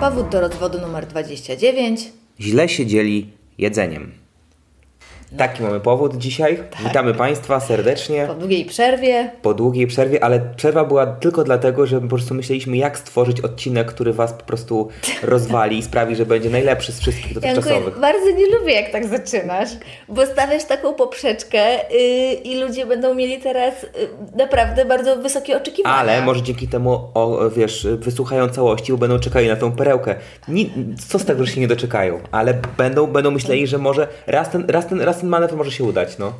Powód do rozwodu numer 29. Źle się dzieli jedzeniem. Taki mamy powód dzisiaj. Witamy Państwa serdecznie Po długiej przerwie po długiej przerwie, ale przerwa była tylko dlatego, że my po prostu myśleliśmy, jak stworzyć odcinek, który Was po prostu rozwali i sprawi, że będzie najlepszy z wszystkich Janku, dotychczasowych. bardzo nie lubię, jak tak zaczynasz, bo stawiasz taką poprzeczkę y, i ludzie będą mieli teraz y, naprawdę bardzo wysokie oczekiwania. Ale może dzięki temu, o, wiesz, wysłuchają całości, bo będą czekali na tą perełkę. Ni, co z tego, że się nie doczekają? Ale będą, będą myśleli, że może raz ten, raz, ten, raz ten manewr może się udać, no.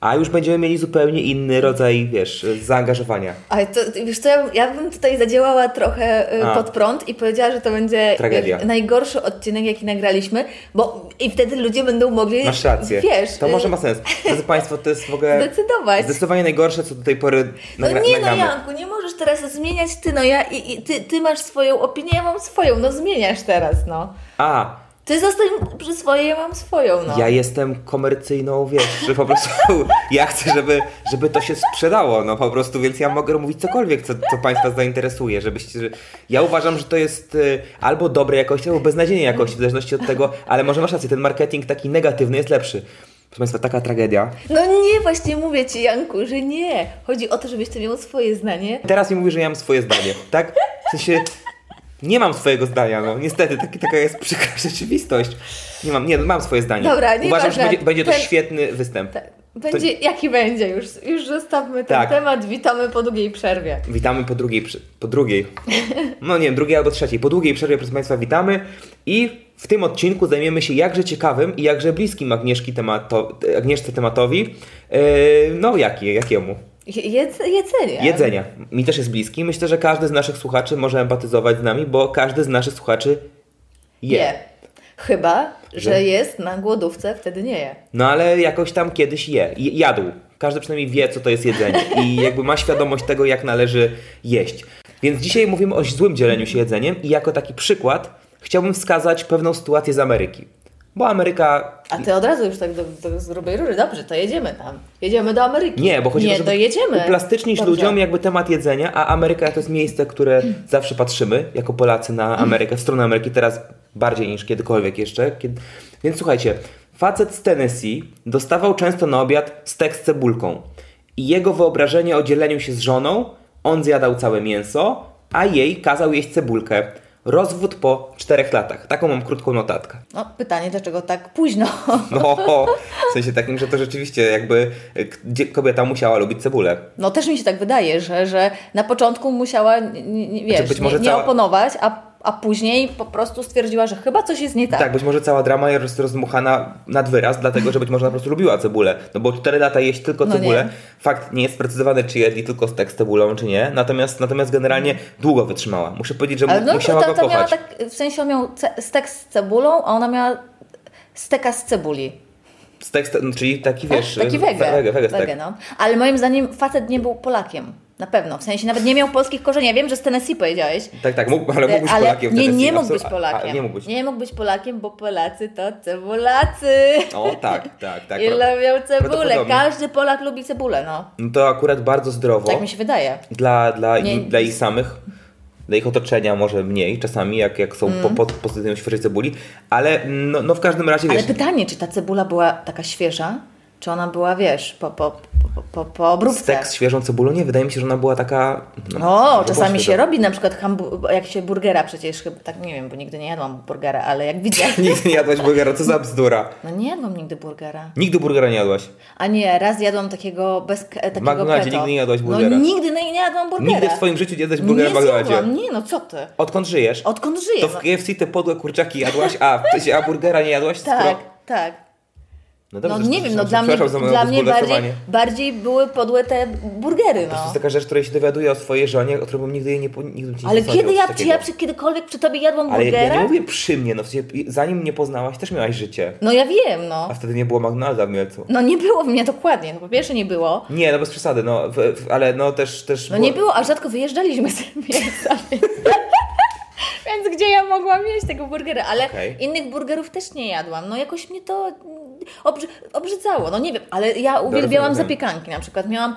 A już będziemy mieli zupełnie inny rodzaj, wiesz, zaangażowania. Ale to, wiesz co, ja, bym- ja bym tutaj zadziałała trochę y, A. pod prąd i powiedziała, że to będzie Tragedia. y, najgorszy odcinek, jaki nagraliśmy, bo i wtedy ludzie będą mogli, Masz rację. wiesz, to y, może ma sens. Drodzy Państwo, to jest w ogóle Zdecydować. zdecydowanie najgorsze, co do tej pory No nagra- nie no nagramy. Janku, nie możesz teraz zmieniać ty, no ja i, i ty, ty masz swoją opinię, ja mam swoją, no zmieniasz teraz, no. A, Ty zostań przy swojej, ja mam swoją, no. ja jestem komercyjną, wiesz, że po prostu ja chcę, żeby, żeby to się sprzedało, no po prostu, więc ja mogę mówić cokolwiek, co, co Państwa zainteresuje, żebyście... że- Ja uważam, że to jest y, albo dobrej jakości, albo beznadziejnej jakości, w zależności od tego, ale może masz rację, ten marketing taki negatywny jest lepszy. Proszę Państwa, taka tragedia. No nie, właśnie mówię ci Janku, że nie. Chodzi o to, żebyś ty miał swoje zdanie. Teraz mi mówisz, że ja mam swoje zdanie, tak? W sensie nie mam swojego zdania, no niestety, taki, taka jest przykra rzeczywistość. Nie mam, nie, mam swoje zdanie. Dobra, nie Uważam, że ważne. będzie, będzie to Ten- świetny występ. Tak. Będzie, jaki będzie, już, już zostawmy ten Tak. temat, witamy po długiej przerwie. Witamy po drugiej, prze- po drugiej, no nie wiem, drugiej albo trzeciej, po długiej przerwie, proszę Państwa, witamy i w tym odcinku zajmiemy się jakże ciekawym i jakże bliskim Agnieszki temato, Agnieszce tematowi, yy, no jaki, jakiemu? Jedz, jedzenie. Jedzenia. Mi też jest bliski. Myślę, że każdy z naszych słuchaczy może empatyzować z nami, bo każdy z naszych słuchaczy je. Je. Chyba, że, Że- jest na głodówce, wtedy nie je. No ale jakoś tam kiedyś je. I- Jadł. Każdy przynajmniej wie, co to jest jedzenie i jakby ma świadomość tego, jak należy jeść. Więc dzisiaj mówimy o złym dzieleniu się jedzeniem i jako taki przykład chciałbym wskazać pewną sytuację z Ameryki. Bo Ameryka A ty od razu już tak do, do, z grubej rury. Dobrze, to jedziemy tam. Jedziemy do Ameryki. Nie, bo chodzi nie, o to, to żeby jedziemy. uplastycznić Dobrze. ludziom jakby temat jedzenia, a Ameryka to jest miejsce, które zawsze patrzymy jako Polacy na Amerykę, w stronę Ameryki teraz bardziej niż kiedykolwiek jeszcze. Kiedy... Więc słuchajcie, facet z Tennessee dostawał często na obiad stek z cebulką i jego wyobrażenie o dzieleniu się z żoną, on zjadał całe mięso, a jej kazał jeść cebulkę. Rozwód po czterech latach. Taką mam krótką notatkę. No, pytanie, dlaczego tak późno? No, w sensie takim, że to rzeczywiście jakby y, k- gdzie kobieta musiała lubić cebulę. No też mi się tak wydaje, że, że na początku musiała, nie, nie, wiesz, Znaczy, być może nie, nie cała- oponować, a, a później po prostu stwierdziła, że chyba coś jest nie tak. Tak. być może cała drama jest rozdmuchana nad wyraz, dlatego że być może ona po prostu lubiła cebulę. No bo 4 lata jeść tylko No cebulę. nie. Fakt nie jest sprecyzowany, czy jedli tylko stek z cebulą, czy nie. Natomiast, natomiast generalnie długo wytrzymała. Muszę powiedzieć, że mu- Ale no, musiała to, go to miała kochać. tak, w sensie on miał ce- stek z cebulą, a ona miała steka z cebuli. Stek, z te- no, czyli taki wiesz. Tak, taki e, wege. wege, wege stek. Wege, no. Ale moim zdaniem facet nie był Polakiem. Na pewno. W sensie nawet nie miał polskich korzeni. Ja wiem, że z Tennessee powiedziałeś. Tak, tak, mógł, ale mógł być ale Polakiem. nie, wtedy, nie absolut- mógł być a- a- Polakiem. Nie mógł być. Nie mógł być Polakiem, bo Polacy to cebulacy. O, tak, tak, tak. I lubią cebulę. prawdopodobnie. Każdy Polak lubi cebulę, no. No to akurat bardzo zdrowo. Tak mi się wydaje. dla, dla, im- Nie- dla ich samych, dla ich otoczenia może mniej czasami, jak, jak są Mm. po, po pozytywnym świeżej cebuli, ale no, no w każdym razie Ale wiesz, pytanie, czy ta cebula była taka świeża, czy ona była, wiesz, po, po, po, po, po obróbce? stek z świeżą cebulą, nie, wydaje mi się, że ona była taka... no, O, może czasami była się świeża. robi na przykład hambu- jak się burgera przecież chyba, tak nie wiem, bo nigdy nie jadłam burgera, ale jak widziałam. Nigdy nie jadłaś burgera, co za bzdura. No nie jadłam nigdy burgera. Nigdy burgera nie jadłaś. A nie, raz jadłam takiego bez e, takiego McDonaldzie keto. nigdy nie jadłaś burgera. No nigdy nie, nie jadłam burgera. Nigdy w swoim życiu nie jadłaś burgera burgera w Nie McDonaldzie. zjadłam, nie no co ty? Odkąd żyjesz? Odkąd żyję? To w no? KFC te podłe kurczaki jadłaś, a, w sensie, a burgera nie jadłaś? Tak, Skoro... tak. No, No dobrze, nie wiem, no przepraszam, dla mnie, przepraszam za moje dla mnie bardziej, zbulwersowanie. bardziej były podłe te burgery, To no. jest taka rzecz, której się dowiaduję o swojej żonie, o której bym nigdy jej nie po- nigdy bym ci nie Ale posądził kiedy o ja, coś czy takiego. ja przy kiedykolwiek przy tobie jadłam Ale ja, ja burgera? nie mówię przy mnie, no w sensie zanim mnie poznałaś, też miałaś życie. No ja wiem, no. A wtedy nie było McDonalda w Mielcu. No nie było mnie dokładnie, no po pierwsze nie było. Nie, no bez przesady, no, w, w, ale no też... też No nie było, a rzadko wyjeżdżaliśmy z miejsca, więc... więc gdzie ja mogłam jeść tego burgera, ale Okej. innych burgerów też nie jadłam. No jakoś mnie to mm, obrzy- obrzydzało, no nie wiem, ale ja uwielbiałam rozumiem. zapiekanki na przykład. Miałam,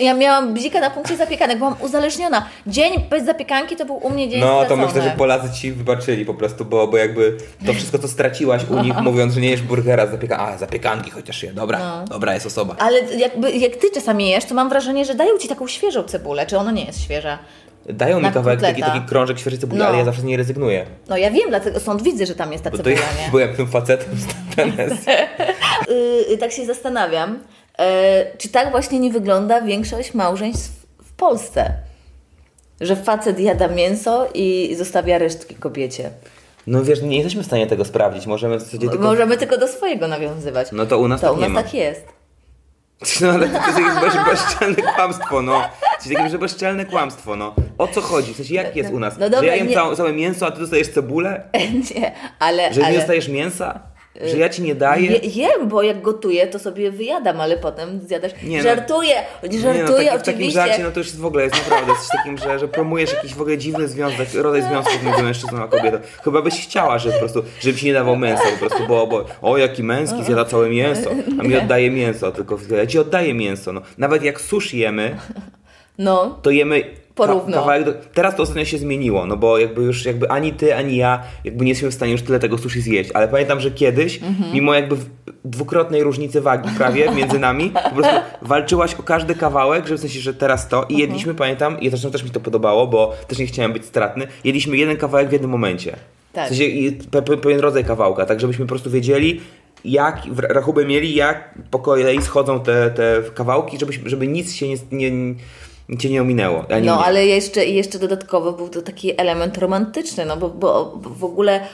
ja miałam bzika na punkcie zapiekanek, byłam uzależniona. Dzień bez zapiekanki to był u mnie dzień No to stracony. myślę, że Polacy ci wybaczyli po prostu, bo, bo jakby to wszystko, co straciłaś u nich, mówiąc, że nie jesz burgera, zapieka... a zapiekanki chociaż je, dobra, No. dobra jest osoba. Ale jakby, jak ty czasami jesz, to mam wrażenie, że dają ci taką świeżą cebulę, czy ona nie jest świeża. Dają mi na kawałek taki, kotleta. taki krążek świeżej cebuli, No. ale ja zawsze z niej rezygnuję. No ja wiem, dlatego stąd widzę, że tam jest ta Bo to ja cebula, nie? byłem tym facetem z Tennessee. Y, tak się zastanawiam, e, czy tak właśnie nie wygląda większość małżeństw w Polsce? Że facet jada mięso i zostawia resztki kobiecie. No wiesz, nie jesteśmy w stanie tego sprawdzić, możemy w zasadzie tylko... Możemy tylko do swojego nawiązywać. No to u nas to tak u nie nas ma. tak jest. No ale to jest jakieś bez- bezczelne kłamstwo, no. Coś takiego, że bezczelne kłamstwo, no. O co chodzi? W sensie, jak jest u nas? no dobra, że ja jem nie- całe, całe mięso, a ty dostajesz cebulę? nie, ale. Że ale... Y, nie dostajesz mięsa? Że ja ci nie daję? Je, jem, bo jak gotuję, to sobie wyjadam, ale potem zjadasz. Nie no. żartuję, nie, no, żartuję taki, w takim oczywiście. żarcie, no to już jest w ogóle jest naprawdę coś takim, że, że promujesz jakiś w ogóle dziwny związek, rodzaj związków między mężczyzną a kobietą. Chyba byś chciała, żeby po prostu, żeby ci nie dawał mięsa po prostu, bo, bo o jaki męski zjada całe mięso, a mi oddaje mięso, tylko ja ci oddaję mięso, no. Nawet jak sushi jemy, no. to jemy Porówno. ka- kawałek do... Teraz to ostatnio się zmieniło, no bo jakby już jakby ani ty, ani ja jakby nie jesteśmy w stanie już tyle tego sushi zjeść, ale pamiętam, że kiedyś, Mhm. mimo jakby w- dwukrotnej różnicy wagi prawie między nami, po prostu walczyłaś o każdy kawałek, że w sensie, że teraz to Mhm. i jedliśmy, pamiętam, i zresztą też mi to podobało, bo też nie chciałem być stratny, jedliśmy jeden kawałek w jednym momencie. Tak. W sensie i pe- pe- pewien rodzaj kawałka, tak żebyśmy po prostu wiedzieli, jak w ra- rachubę mieli, jak po kolei schodzą te, te kawałki, żeby, żeby nic się nie, nie, cię nie ominęło. Ani No, mnie. ale jeszcze, jeszcze dodatkowo był to taki element romantyczny, no bo, bo bo w ogóle em,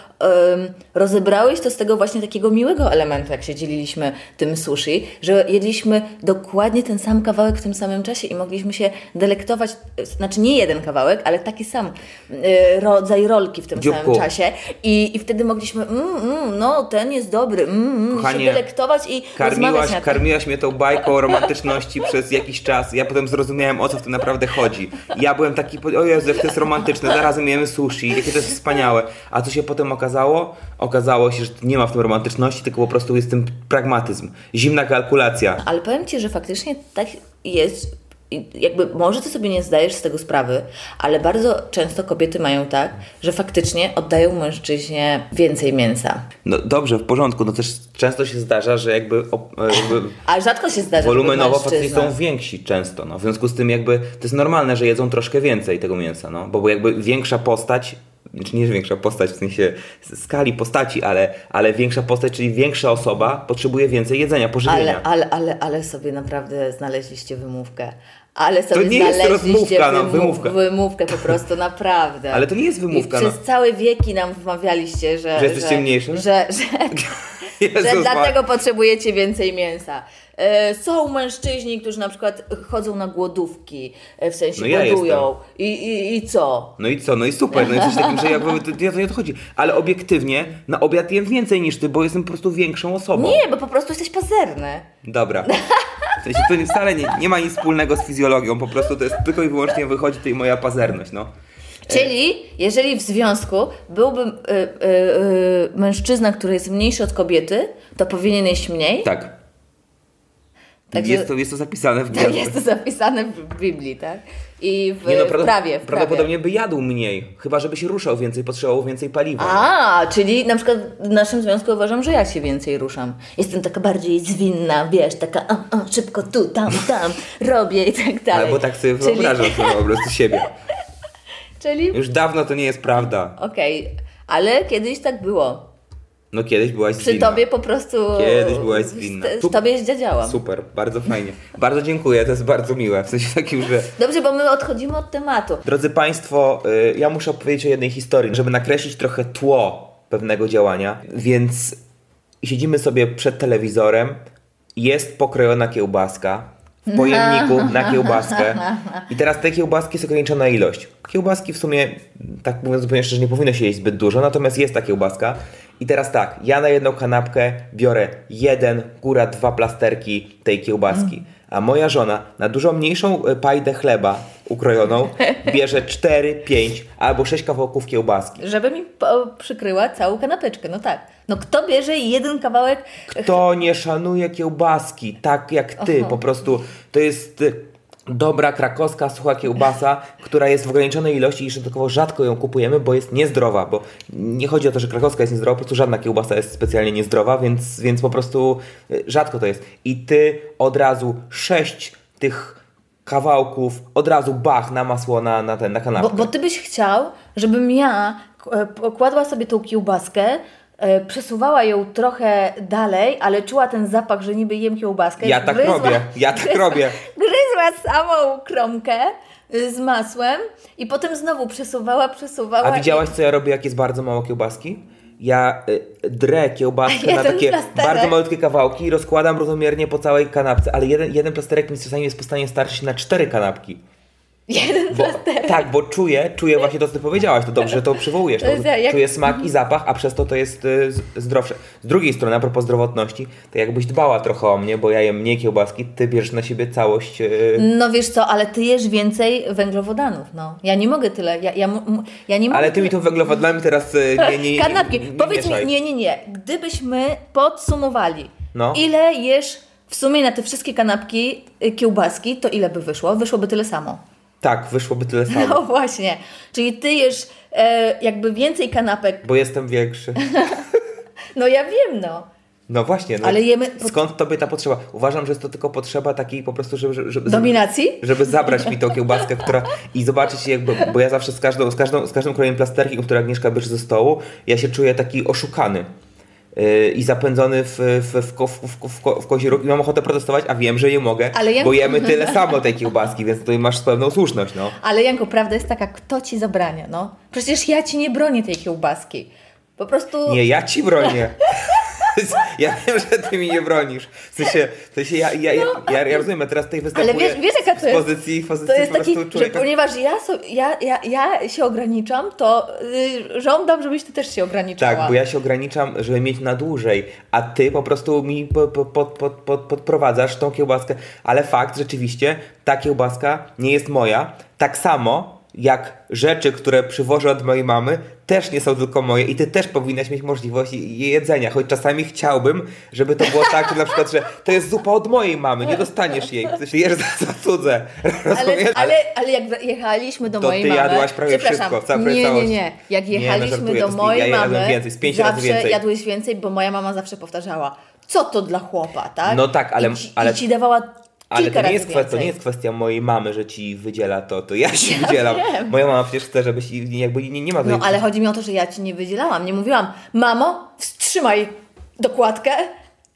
rozebrałeś to z tego właśnie takiego miłego elementu, jak się dzieliliśmy tym sushi, że jedliśmy dokładnie ten sam kawałek w tym samym czasie i mogliśmy się delektować, e, znaczy nie jeden kawałek, ale taki sam e, rodzaj rolki w tym samym Dzióbku. czasie i, i wtedy mogliśmy, mm, mm, no ten jest dobry, mm, mm, się Kochanie, delektować i rozmawiać na Karmiłaś, ten karmiłaś mnie tą bajką o romantyczności przez jakiś czas. Ja potem zrozumiałem, o co w tym naprawdę chodzi. Ja byłem taki, po- o Jezu, jak to jest romantyczne, zarazem jemy sushi, jakie to jest wspaniałe. A co się potem okazało? Okazało się, że nie ma w tym romantyczności, tylko po prostu jest w tym pragmatyzm. Zimna kalkulacja. Ale powiem Ci, że faktycznie tak jest. I Jakby może Ty sobie nie zdajesz z tego sprawy, ale bardzo często kobiety mają tak, że faktycznie oddają mężczyźnie więcej mięsa. No dobrze, w porządku, no też często się zdarza, że jakby, o- jakby A rzadko się zdarza, Wolumenowo żeby faceci mężczyzna... są więksi często, no. w związku z tym jakby to jest normalne, że jedzą troszkę więcej tego mięsa, no. bo bo jakby większa postać, znaczy nie że większa postać w sensie skali postaci, ale, ale większa postać, czyli większa osoba potrzebuje więcej jedzenia, pożywienia. Ale, ale, ale, ale sobie naprawdę znaleźliście wymówkę. Ale sobie nie jest znaleźliście rozmówka, no, wymu- wymówka. wymówkę po prostu, naprawdę. Ale to nie jest wymówka, I no. przez całe wieki nam wmawialiście, że... Że jesteście mniejsze? Że, że, Jezus że Maria. dlatego potrzebujecie więcej mięsa. E, Są mężczyźni, którzy na przykład chodzą na głodówki, e, w sensie No ja głodują. I, i, I co? No i co? No i super, no i coś takim, że jakby to, to nie odchodzi. Ale obiektywnie na obiad jem więcej niż ty, bo jestem po prostu większą osobą. Nie, bo po prostu jesteś pazerny. Dobra. W sensie to nie- wcale nie, nie ma nic wspólnego z fizjologią, po prostu to jest tylko i wyłącznie wychodzi tutaj moja pazerność, no. Czyli, jeżeli w związku byłby y, y, y, mężczyzna, który jest mniejszy od kobiety, to powinien jeść mniej? Tak. Także- Jest, to, jest to zapisane w Tak gwiazdach. Jest to zapisane w Biblii, tak? I w, Nie, no, w prawie, w prawie. Prawdopodobnie by jadł mniej, chyba żeby się ruszał więcej, potrzebował więcej paliwa. A, czyli na przykład w naszym związku uważam, że ja się więcej ruszam. Jestem taka bardziej zwinna, wiesz, taka a, a, szybko tu, tam, tam, robię i tak dalej. Ale bo tak sobie czyli, wyobrażam sobie po prostu siebie. Czyli, Już dawno to nie jest prawda. okej, ale kiedyś tak było. No kiedyś byłaś Przy zwinna. tobie po prostu... Kiedyś byłaś zwinna. Z, Tu- z tobie zdziadziałam. Super, bardzo fajnie. Bardzo dziękuję, to jest bardzo miłe. W sensie takim, że... Dobrze, bo my odchodzimy od tematu. Drodzy Państwo, y, ja muszę opowiedzieć o jednej historii, żeby nakreślić trochę tło pewnego działania, więc i siedzimy sobie przed telewizorem, jest pokrojona kiełbaska w pojemniku na kiełbaskę i teraz tej kiełbaski jest ograniczona ilość. Kiełbaski w sumie, tak mówiąc zupełnie szczerze, nie powinno się jeść zbyt dużo, natomiast jest ta kiełbaska i teraz tak, ja na jedną kanapkę biorę jeden, góra dwa plasterki tej kiełbaski. A moja żona na dużo mniejszą e, pajdę chleba ukrojoną bierze 4, 5 albo 6 kawałków kiełbaski. Żeby mi po- przykryła całą kanapeczkę, no tak. No kto bierze jeden kawałek Kto nie szanuje kiełbaski, tak jak ty, Oho. po prostu to jest y, dobra krakowska sucha kiełbasa, która jest w ograniczonej ilości i stosunkowo rzadko ją kupujemy, bo jest niezdrowa, bo nie chodzi o to, że krakowska jest niezdrowa, po prostu żadna kiełbasa jest specjalnie niezdrowa, więc, więc po prostu y, rzadko to jest. I ty od razu sześć tych kawałków, od razu bach na masło na, na ten, na kanapkę. Bo, bo ty byś chciał, żebym ja e, kładła sobie tą kiełbaskę, e, przesuwała ją trochę dalej, ale czuła ten zapach, że niby jem kiełbaskę. Ja tak robię, ja tak robię. Gryzła samą kromkę e, z masłem i potem znowu przesuwała, przesuwała. A widziałaś, co ja robię, jak jest bardzo mało kiełbaski? Ja y, drę A kiełbaskę na jeden takie plasterek. bardzo malutkie kawałki i rozkładam równomiernie po całej kanapce, ale jeden, jeden plasterek mi czasami jest w stanie starczyć na cztery kanapki. I jeden Bo, plaster. tak, bo czuję, czuję właśnie to, co ty powiedziałaś, to dobrze, że to przywołujesz. To jest To, jak- Czuję smak i zapach, a przez to to jest y, z- zdrowsze. Z drugiej strony, a propos zdrowotności, to jakbyś dbała trochę o mnie, bo ja jem mniej kiełbaski, ty bierzesz na siebie całość... y, No wiesz co, ale ty jesz więcej węglowodanów, no. Ja nie mogę tyle, ja, ja, mu- mu- ja nie mogę ale ty mi tyle. tu węglowodanami teraz y, nie, nie, nie, No, Kanapki. nie Powiedz mieszaj. mi, nie, nie, nie. Gdybyśmy podsumowali, No. ile jesz w sumie na te wszystkie kanapki y, kiełbaski, to ile by wyszło? Wyszłoby tyle samo. Tak, wyszłoby tyle samo. No właśnie. Czyli ty jesz e, jakby więcej kanapek. Bo jestem większy. No ja wiem, no. No właśnie. No. Ale jemy- Skąd tobie ta potrzeba? Uważam, że jest to tylko potrzeba takiej po prostu, żeby... żeby- żeby Dominacji? Żeby zabrać mi tą kiełbaskę, która... I zobaczyć jakby... Bo ja zawsze z każdą, z każdą, z każdą krojem plasterki, które Agnieszka bierze ze stołu, ja się czuję taki oszukany. Yy, I zapędzony w, w, w, ko- w, w, w, ko- w kozi róg i mam ochotę protestować, a wiem, że nie mogę, Ale ja- bo jemy tyle samo tej kiełbaski, więc tutaj masz pewną słuszność, no. Ale Janko, prawda jest taka, kto ci zabrania, no. Przecież ja ci nie bronię tej kiełbaski. Po prostu... Nie, ja ci bronię. Ja wiem, że ty mi nie bronisz. W sensie, w sensie ja, ja, ja, ja, ja rozumiem, ja teraz tutaj występuję No, Ale wiesz- wiesz, jaka to z jest? pozycji, w pozycji To jest po taki, prostu że człowieka. ponieważ ja, so, ja, ja, ja się ograniczam, to y, żądam, żebyś ty też się ograniczała. Tak, bo ja się ograniczam, żeby mieć na dłużej, a ty po prostu mi po, po, pod, pod, pod, podprowadzasz tą kiełbaskę. Ale fakt, rzeczywiście, ta kiełbaska nie jest moja. Tak samo jak rzeczy, które przywożę od mojej mamy, też nie są tylko moje i ty też powinnaś mieć możliwość je jedzenia, choć czasami chciałbym, żeby to było tak, że na przykład, że to jest zupa od mojej mamy, nie dostaniesz jej, ty się jesz za, za cudze, Ale, rozumiesz? ale, ale jak jechaliśmy do To mojej ty mamy... jadłaś prawie przepraszam, wszystko, całe- Nie, nie, całość. nie. Jak Nie, no jechaliśmy żartuję, do to z- mojej ja jadłem mamy, więcej, z pięć zawsze razy więcej. jadłeś więcej, bo moja mama zawsze powtarzała, co to dla chłopa, tak? No tak, ale- I ci, ale- i ci dawała kilka Ale to nie, razy jest kwestia, to więcej. nie jest kwestia mojej mamy, że ci wydziela to, to ja się wydzielam. wiem. Moja mama przecież chce, żebyś i jakby nie, nie ma No tej- ale chodzi mi o to, że ja ci nie wydzielałam, nie mówiłam, mamo, wstrzymaj dokładkę,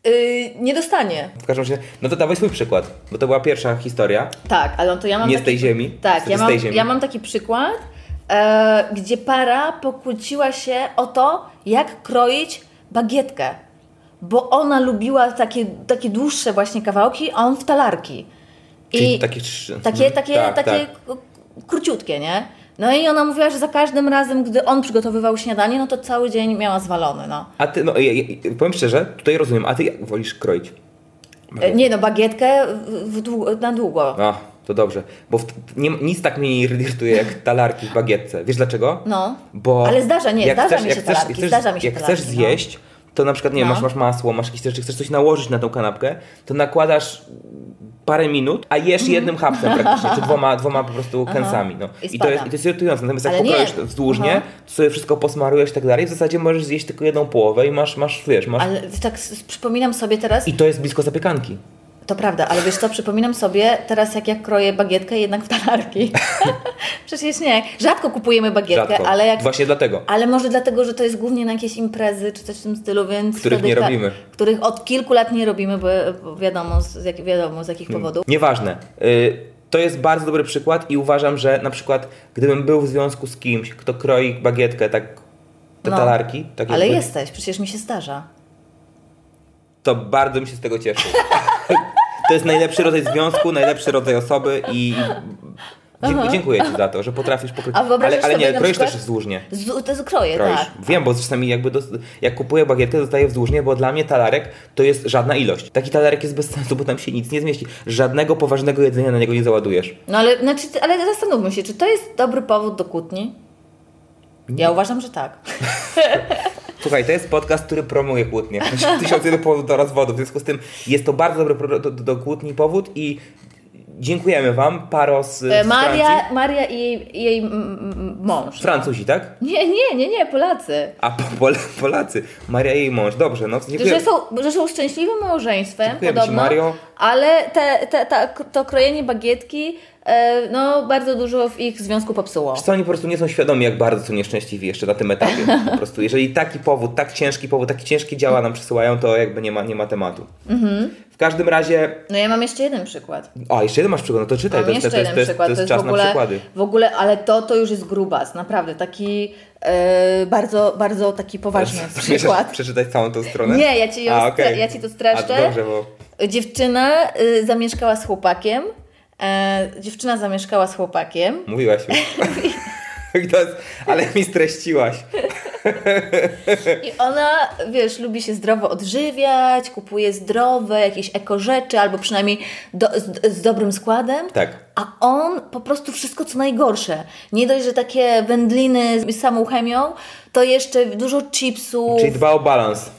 y, nie dostanie. W każdym razie, no to dawaj swój przykład, bo to była pierwsza historia. Tak, ale to ja mam. Nie z taki, tej ziemi, Tak, niestety ja z mam, tej ziemi. ja mam taki przykład, e, gdzie para pokłóciła się o to, jak kroić bagietkę. Bo ona lubiła takie, takie dłuższe właśnie kawałki, a on w talarki. Czyli takie trzy- takie, mhm, takie, tak, takie tak. k- króciutkie, nie? No i ona mówiła, że za każdym razem, gdy on przygotowywał śniadanie, no to cały dzień miała zwalony, no. A ty, no ja, ja, powiem szczerze, tutaj rozumiem, a ty jak wolisz kroić? E, Nie no, bagietkę w, w dłu- na długo. A, to dobrze, bo w, nie, nic tak mnie nie irytuje jak talarki w bagietce. Wiesz dlaczego? No. Bo Ale zdarza- nie, jak zdarza chcesz, mi się jak chcesz, talarki, jak chcesz, zdarza mi się Jak talarki, chcesz no. zjeść, to na przykład, nie wiem, No. masz, masz masło, masz jakieś rzeczy, chcesz coś nałożyć na tą kanapkę, to nakładasz parę minut, a jesz Mhm. jednym hapsem praktycznie, czy dwoma, dwoma po prostu kęsami. No. I I, to jest, spada. I to jest irytujące. Natomiast jak Ale nie. pokroisz to wzdłużnie, Aha. to sobie wszystko posmarujesz i tak dalej, w zasadzie możesz zjeść tylko jedną połowę i masz, masz wiesz, masz... Ale tak s- przypominam sobie teraz, I to jest blisko zapiekanki. To prawda, ale wiesz co, przypominam sobie teraz jak ja kroję bagietkę jednak w talarki. Przecież nie, rzadko kupujemy bagietkę, Rzadko. ale jak... Właśnie dlatego. Ale może dlatego, że to jest głównie na jakieś imprezy czy coś w tym stylu, więc... Których wtedy nie ta- robimy. Których od kilku lat nie robimy, bo bo wiadomo z, jak, wiadomo z Hmm. jakich powodów. Nieważne. Y, to jest bardzo dobry przykład i uważam, że na przykład gdybym był w związku z kimś, kto kroi bagietkę tak te No. talarki, tak Ale jakby- jesteś, przecież mi się zdarza. to bardzo mi się z tego cieszę. to jest najlepszy rodzaj związku, najlepszy rodzaj osoby i dzie- dziękuję Ci za to, że potrafisz pokryć. A wyobrażasz Ale, ale sobie nie, na kroisz przykład- też wzdłużnie. Z, to jest kroje, Kroisz. tak. Wiem, bo czasami jakby dos- jak kupuję bagietkę, dostaję wzdłużnie, bo dla mnie talarek to jest żadna ilość. Taki talarek jest bez sensu, bo tam się nic nie zmieści. Żadnego poważnego jedzenia na niego nie załadujesz. No ale, znaczy, ale zastanówmy się, czy to jest dobry powód do kłótni? Ja uważam, że tak. Słuchaj, to jest podcast, który promuje kłótnie. Tysiąc jeden powodów do rozwodu. W związku z tym jest to bardzo dobry pro- do, do, do kłótni powód i dziękujemy Wam, paro z, E, z Francji. Maria, Maria i jej, jej m- m- mąż. Francuzi, tak? Nie, nie, nie, nie, Polacy. A po, Pol- Polacy. Maria i jej mąż. Dobrze, no dziękuję. Że są, że są szczęśliwym małżeństwem, Dziękujemy ci, podobno, Mario. ale te, te, ta, to krojenie bagietki e, no, bardzo dużo w ich związku popsuło. Wiesz co, oni po prostu nie są świadomi, jak bardzo są nieszczęśliwi jeszcze na tym etapie. Po prostu, jeżeli taki powód, tak ciężki powód, takie ciężkie działa nam przesyłają, to jakby nie ma, nie ma tematu. Mhm. W każdym razie... No ja mam jeszcze jeden przykład. O, jeszcze jeden masz przykład, no to czytaj. Mam To, jest- jeszcze to, jest- jeden to, jest- przykład. to jest czas w ogóle, na przykłady. W ogóle, ale to, to już jest grubas, naprawdę. Taki e, bardzo, bardzo taki poważny przykład. Przeczytać całą tą stronę? Nie, ja ci ją A, okej. stra- ja ci to streszczę. A, dobrze, bo... Dziewczyna y, zamieszkała z chłopakiem. E, dziewczyna zamieszkała z chłopakiem. Mówiłaś już. To jest- Ale mi streściłaś. I ona, wiesz, lubi się zdrowo odżywiać, kupuje zdrowe jakieś eko rzeczy, albo przynajmniej do, z, z dobrym składem. Tak. A on po prostu wszystko co najgorsze. Nie dość, że takie wędliny z samą chemią, to jeszcze dużo chipsów. Czyli dba o balans.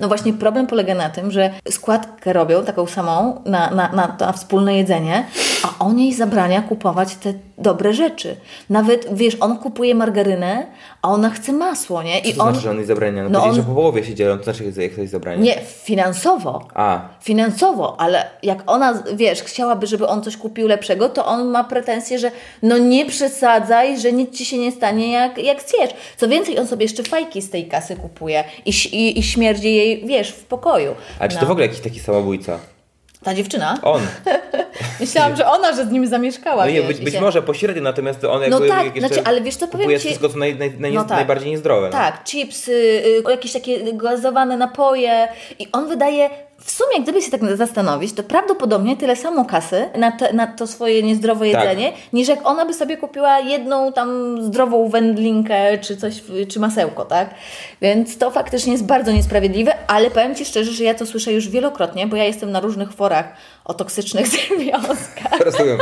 No właśnie problem polega na tym, że składkę robią taką samą na, na, na, na wspólne jedzenie, a on jej zabrania kupować te dobre rzeczy. Nawet, wiesz, on kupuje margarynę, a ona chce masło, nie? I Co to on... znaczy, że on jest zabrania? No, no powiedzieć, on- że po połowie się dzielą, to znaczy, że jest ktoś zabrania. Nie, finansowo. A, Finansowo, ale jak ona, wiesz, chciałaby, żeby on coś kupił lepszego, to on ma pretensje, że no nie przesadzaj, że nic ci się nie stanie, jak, jak zjesz. Co więcej, on sobie jeszcze fajki z tej kasy kupuje i, ś- i, i śmierdzi jej, wiesz, w pokoju. a czy No. to w ogóle jakiś taki samobójca? Ta dziewczyna? On. Myślałam, że ona, że z nim zamieszkała. No nie, wiesz, być, i być się- może pośrednio, natomiast on jakby... No tak, jak jeszcze znaczy, ale wiesz co, powiem kupuje ci- wszystko, co naj, naj, naj, No tak. najbardziej niezdrowe. No. Tak, chipsy, y, jakieś takie gazowane napoje i on wydaje, w sumie gdyby się tak zastanowić, to prawdopodobnie tyle samo kasy na, te, na to swoje niezdrowe Tak. jedzenie, niż jak ona by sobie kupiła jedną tam zdrową wędlinkę czy coś, w- czy masełko, tak? Więc to faktycznie jest bardzo niesprawiedliwe, ale powiem Ci szczerze, że ja to słyszę już wielokrotnie, bo ja jestem na różnych forach o toksycznych związkach. Rozumiem.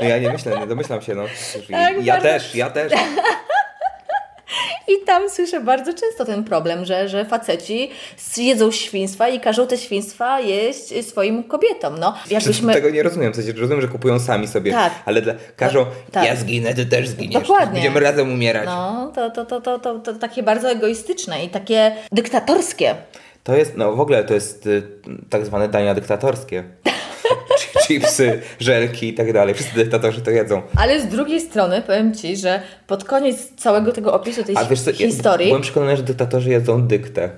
No ja nie myślę, nie domyślam się, no. Przecież Tak, ja bardzo- też, ja też. I tam słyszę bardzo często ten problem, że, że faceci jedzą świństwa i każą te świństwa jeść swoim kobietom. No, jakbyśmy... Znaczy, Tego nie rozumiem, w sensie rozumiem, że kupują sami sobie, Tak. ale dla, każą, tak. ja zginę, ty też zginiesz. Dokładnie. Będziemy razem umierać. No, to, to, to, to, to, to takie bardzo egoistyczne i takie dyktatorskie. To jest, no w ogóle to jest y, tak zwane dania dyktatorskie. Chi- Chipsy, żelki i tak dalej. Wszyscy dyktatorzy to jedzą. Ale z drugiej strony powiem Ci, że pod koniec całego tego opisu tej A wiesz co, ja historii... byłem przekonany, że dyktatorzy jedzą dyktę.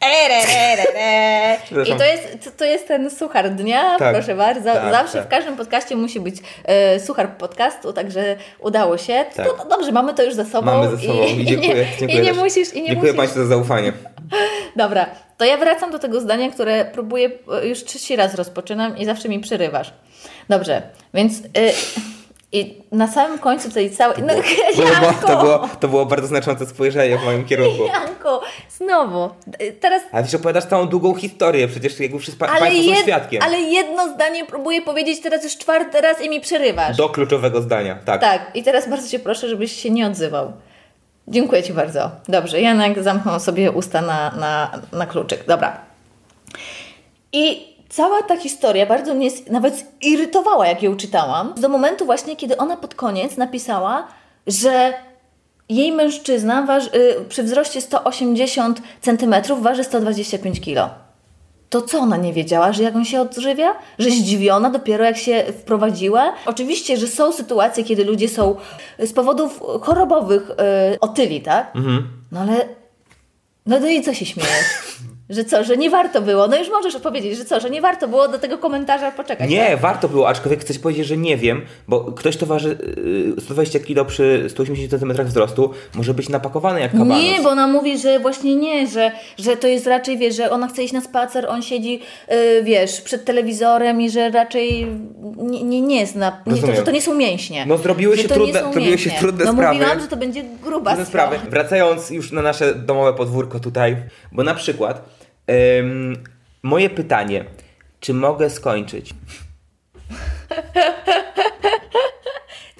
E, Erererere. I Przepraszam. to jest, to, to jest ten suchar dnia, Tak, proszę bardzo. tak, Zawsze tak. w każdym podcaście musi być e, suchar podcastu, także udało się. No Tak. To, to dobrze, mamy to już za sobą. Mamy ze sobą i, dziękuję. nie, dziękuję No I nie też. musisz, i nie Dziękuję musisz. Państwu za zaufanie. Dobra, to ja wracam do tego zdania, które próbuję, e, już trzeci raz rozpoczynam i zawsze mi przerywasz. Dobrze, więc... e, i na samym końcu tej całej... No, Było, Janko! to, było, to było bardzo znaczące spojrzenie w moim kierunku. Janko, znowu. E, Teraz Ale wiesz, opowiadasz całą długą historię, przecież jakby wszyscy pa- Państwo są jed- świadkiem. ale jedno zdanie próbuję powiedzieć teraz już czwarty raz i mi przerywasz. Do kluczowego zdania, tak. Tak, i teraz bardzo Cię proszę, żebyś się nie odzywał. Dziękuję Ci bardzo. Dobrze, Janek zamknął sobie usta na, na, na kluczyk. Dobra. I cała ta historia bardzo mnie z- nawet irytowała, jak ją czytałam, do momentu właśnie, kiedy ona pod koniec napisała, że jej mężczyzna waż, y, przy wzroście 180 cm waży 125 kg. To co ona nie wiedziała, że jak on się odżywia? Że zdziwiona dopiero jak się wprowadziła? Oczywiście, że są sytuacje, kiedy ludzie są e, z powodów e, chorobowych yy, otyli, tak? No ale... No, no i co się śmiejesz? Że co, że nie warto było. No już możesz odpowiedzieć, że co, że nie warto było do tego komentarza poczekać. tak? Nie, warto było, aczkolwiek chcę ci powiedzieć, że nie wiem, bo ktoś, kto waży yy, 120 kg przy 180 cm wzrostu, może być napakowany jak kabanos. Nie, bo ona mówi, że właśnie nie, że, że to jest raczej, wiesz, że ona chce iść na spacer, on siedzi, y, wiesz, przed telewizorem i że raczej nie, nie, nie jest na... Nie, to, Rozumiem. że to nie są mięśnie. No, zrobiły Że się to nie trudne- są zrobiły się mięśnie. trudne no, sprawy. mówiłam, że to będzie gruba Różne sprawy. Wracając już na nasze domowe podwórko tutaj, bo na przykład em, moje pytanie, czy mogę skończyć?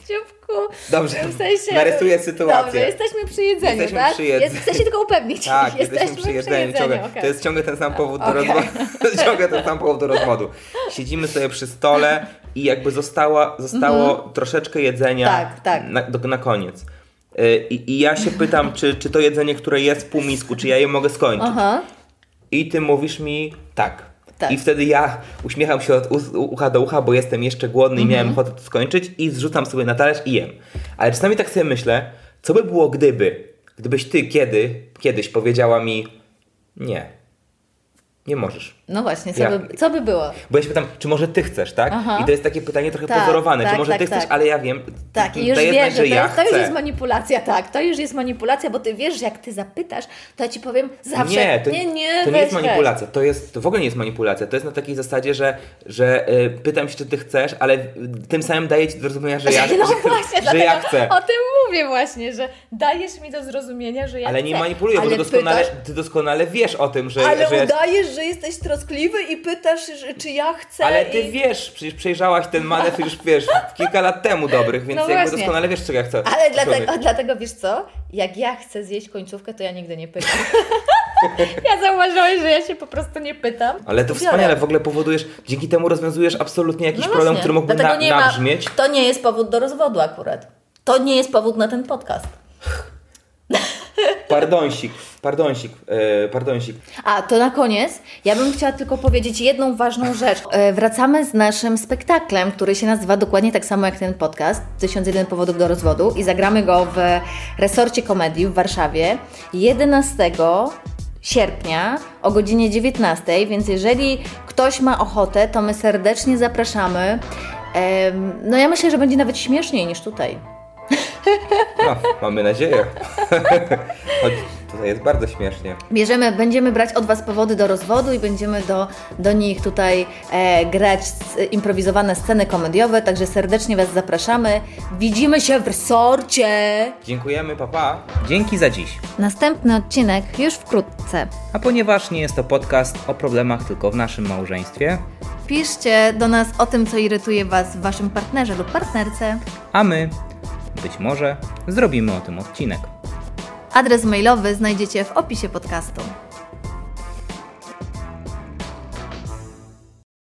Ciupku. Dobrze, W sensie, narysuję sytuację. Dobrze, jesteśmy przy jedzeniu, Jesteśmy tak? przy jedzeniu. Jest, chcę się tylko upewnić. Tak, jesteśmy jesteśmy przy jedzeniu. Ciągle, okej. To jest ciągle ten sam powód do Okej. rozwodu. ciągle ten sam powód do rozwodu. Siedzimy sobie przy stole i jakby została, zostało troszeczkę jedzenia Mhm. Tak, tak. Na, do, na koniec. Y, I, I ja się pytam, czy, czy to jedzenie, które jest w półmisku, czy ja je mogę skończyć? Aha. I ty mówisz mi tak. Tak. I wtedy ja uśmiecham się od us- ucha do ucha, bo jestem jeszcze głodny Mhm. i miałem ochotę to skończyć i zrzucam sobie na talerz i jem. Ale czasami tak sobie myślę, co by było gdyby, gdybyś ty kiedy, kiedyś powiedziała mi nie, nie możesz. No właśnie, co, Ja- by, co by było? Bo ja się pytam, czy może ty chcesz, tak? Aha. I to jest takie pytanie trochę Tak, pozorowane, tak, czy może tak, ty chcesz, tak. ale ja wiem, Tak, i już daję wiesz, znać, że to, że ja jest, to już chcę. jest manipulacja, tak, to już jest manipulacja, bo ty wiesz, że jak ty zapytasz, to ja ci powiem zawsze, Nie, to nie, nie, to nie weź, jest weź. manipulacja. To, jest, to w ogóle nie jest manipulacja. To jest na takiej zasadzie, że, że y, pytam się, czy ty chcesz, ale y, tym samym daję ci do zrozumienia, że ja, No że, właśnie, że dlatego ja chcę. o tym mówię właśnie, że dajesz mi do zrozumienia, że ja Ale chcę. nie manipuluję, bo Ale ty doskonale, pytasz- ty doskonale wiesz o tym, że, Ale że ja- udajesz, że jesteś troskliwy i pytasz, że- czy ja chcę. Ale ty i... wiesz, przecież przejrzałaś ten manewr już, wiesz, kilka lat temu dobrych, więc No jakby właśnie. doskonale wiesz, czego ja chcę. Ale Człowiek. dlatego, dlatego wiesz co? Jak ja chcę zjeść końcówkę, to ja nigdy nie pytam. ja zauważyłeś, że ja się po prostu nie pytam. Ale to Biorę. wspaniale, w ogóle powodujesz, dzięki temu rozwiązujesz absolutnie jakiś No problem, właśnie. który mógłby Dlatego na, nie ma- nabrzmieć. To nie jest powód do rozwodu akurat. To nie jest powód na ten podcast. Pardonsik, pardonsik, e, pardonsik. A to na koniec, ja bym chciała tylko powiedzieć jedną ważną rzecz. E, wracamy z naszym spektaklem, który się nazywa dokładnie tak samo jak ten podcast 1001 powodów do rozwodu i zagramy go w resorcie komedii w Warszawie 11 sierpnia o godzinie 19, więc jeżeli ktoś ma ochotę, to my serdecznie zapraszamy. Em, No ja myślę, że będzie nawet śmieszniej niż tutaj. No, mamy nadzieję. Choć tutaj jest bardzo śmiesznie. Bierzemy, będziemy brać od Was powody do rozwodu i będziemy do, do nich tutaj e, grać s- improwizowane sceny komediowe, także serdecznie Was zapraszamy. Widzimy się w resorcie! Dziękujemy, papa. Pa. Dzięki za dziś. Następny odcinek już wkrótce. A ponieważ nie jest to podcast o problemach tylko w naszym małżeństwie, Piszcie do nas o tym, co irytuje Was w Waszym partnerze lub partnerce. a my być może zrobimy o tym odcinek. Adres mailowy znajdziecie w opisie podcastu.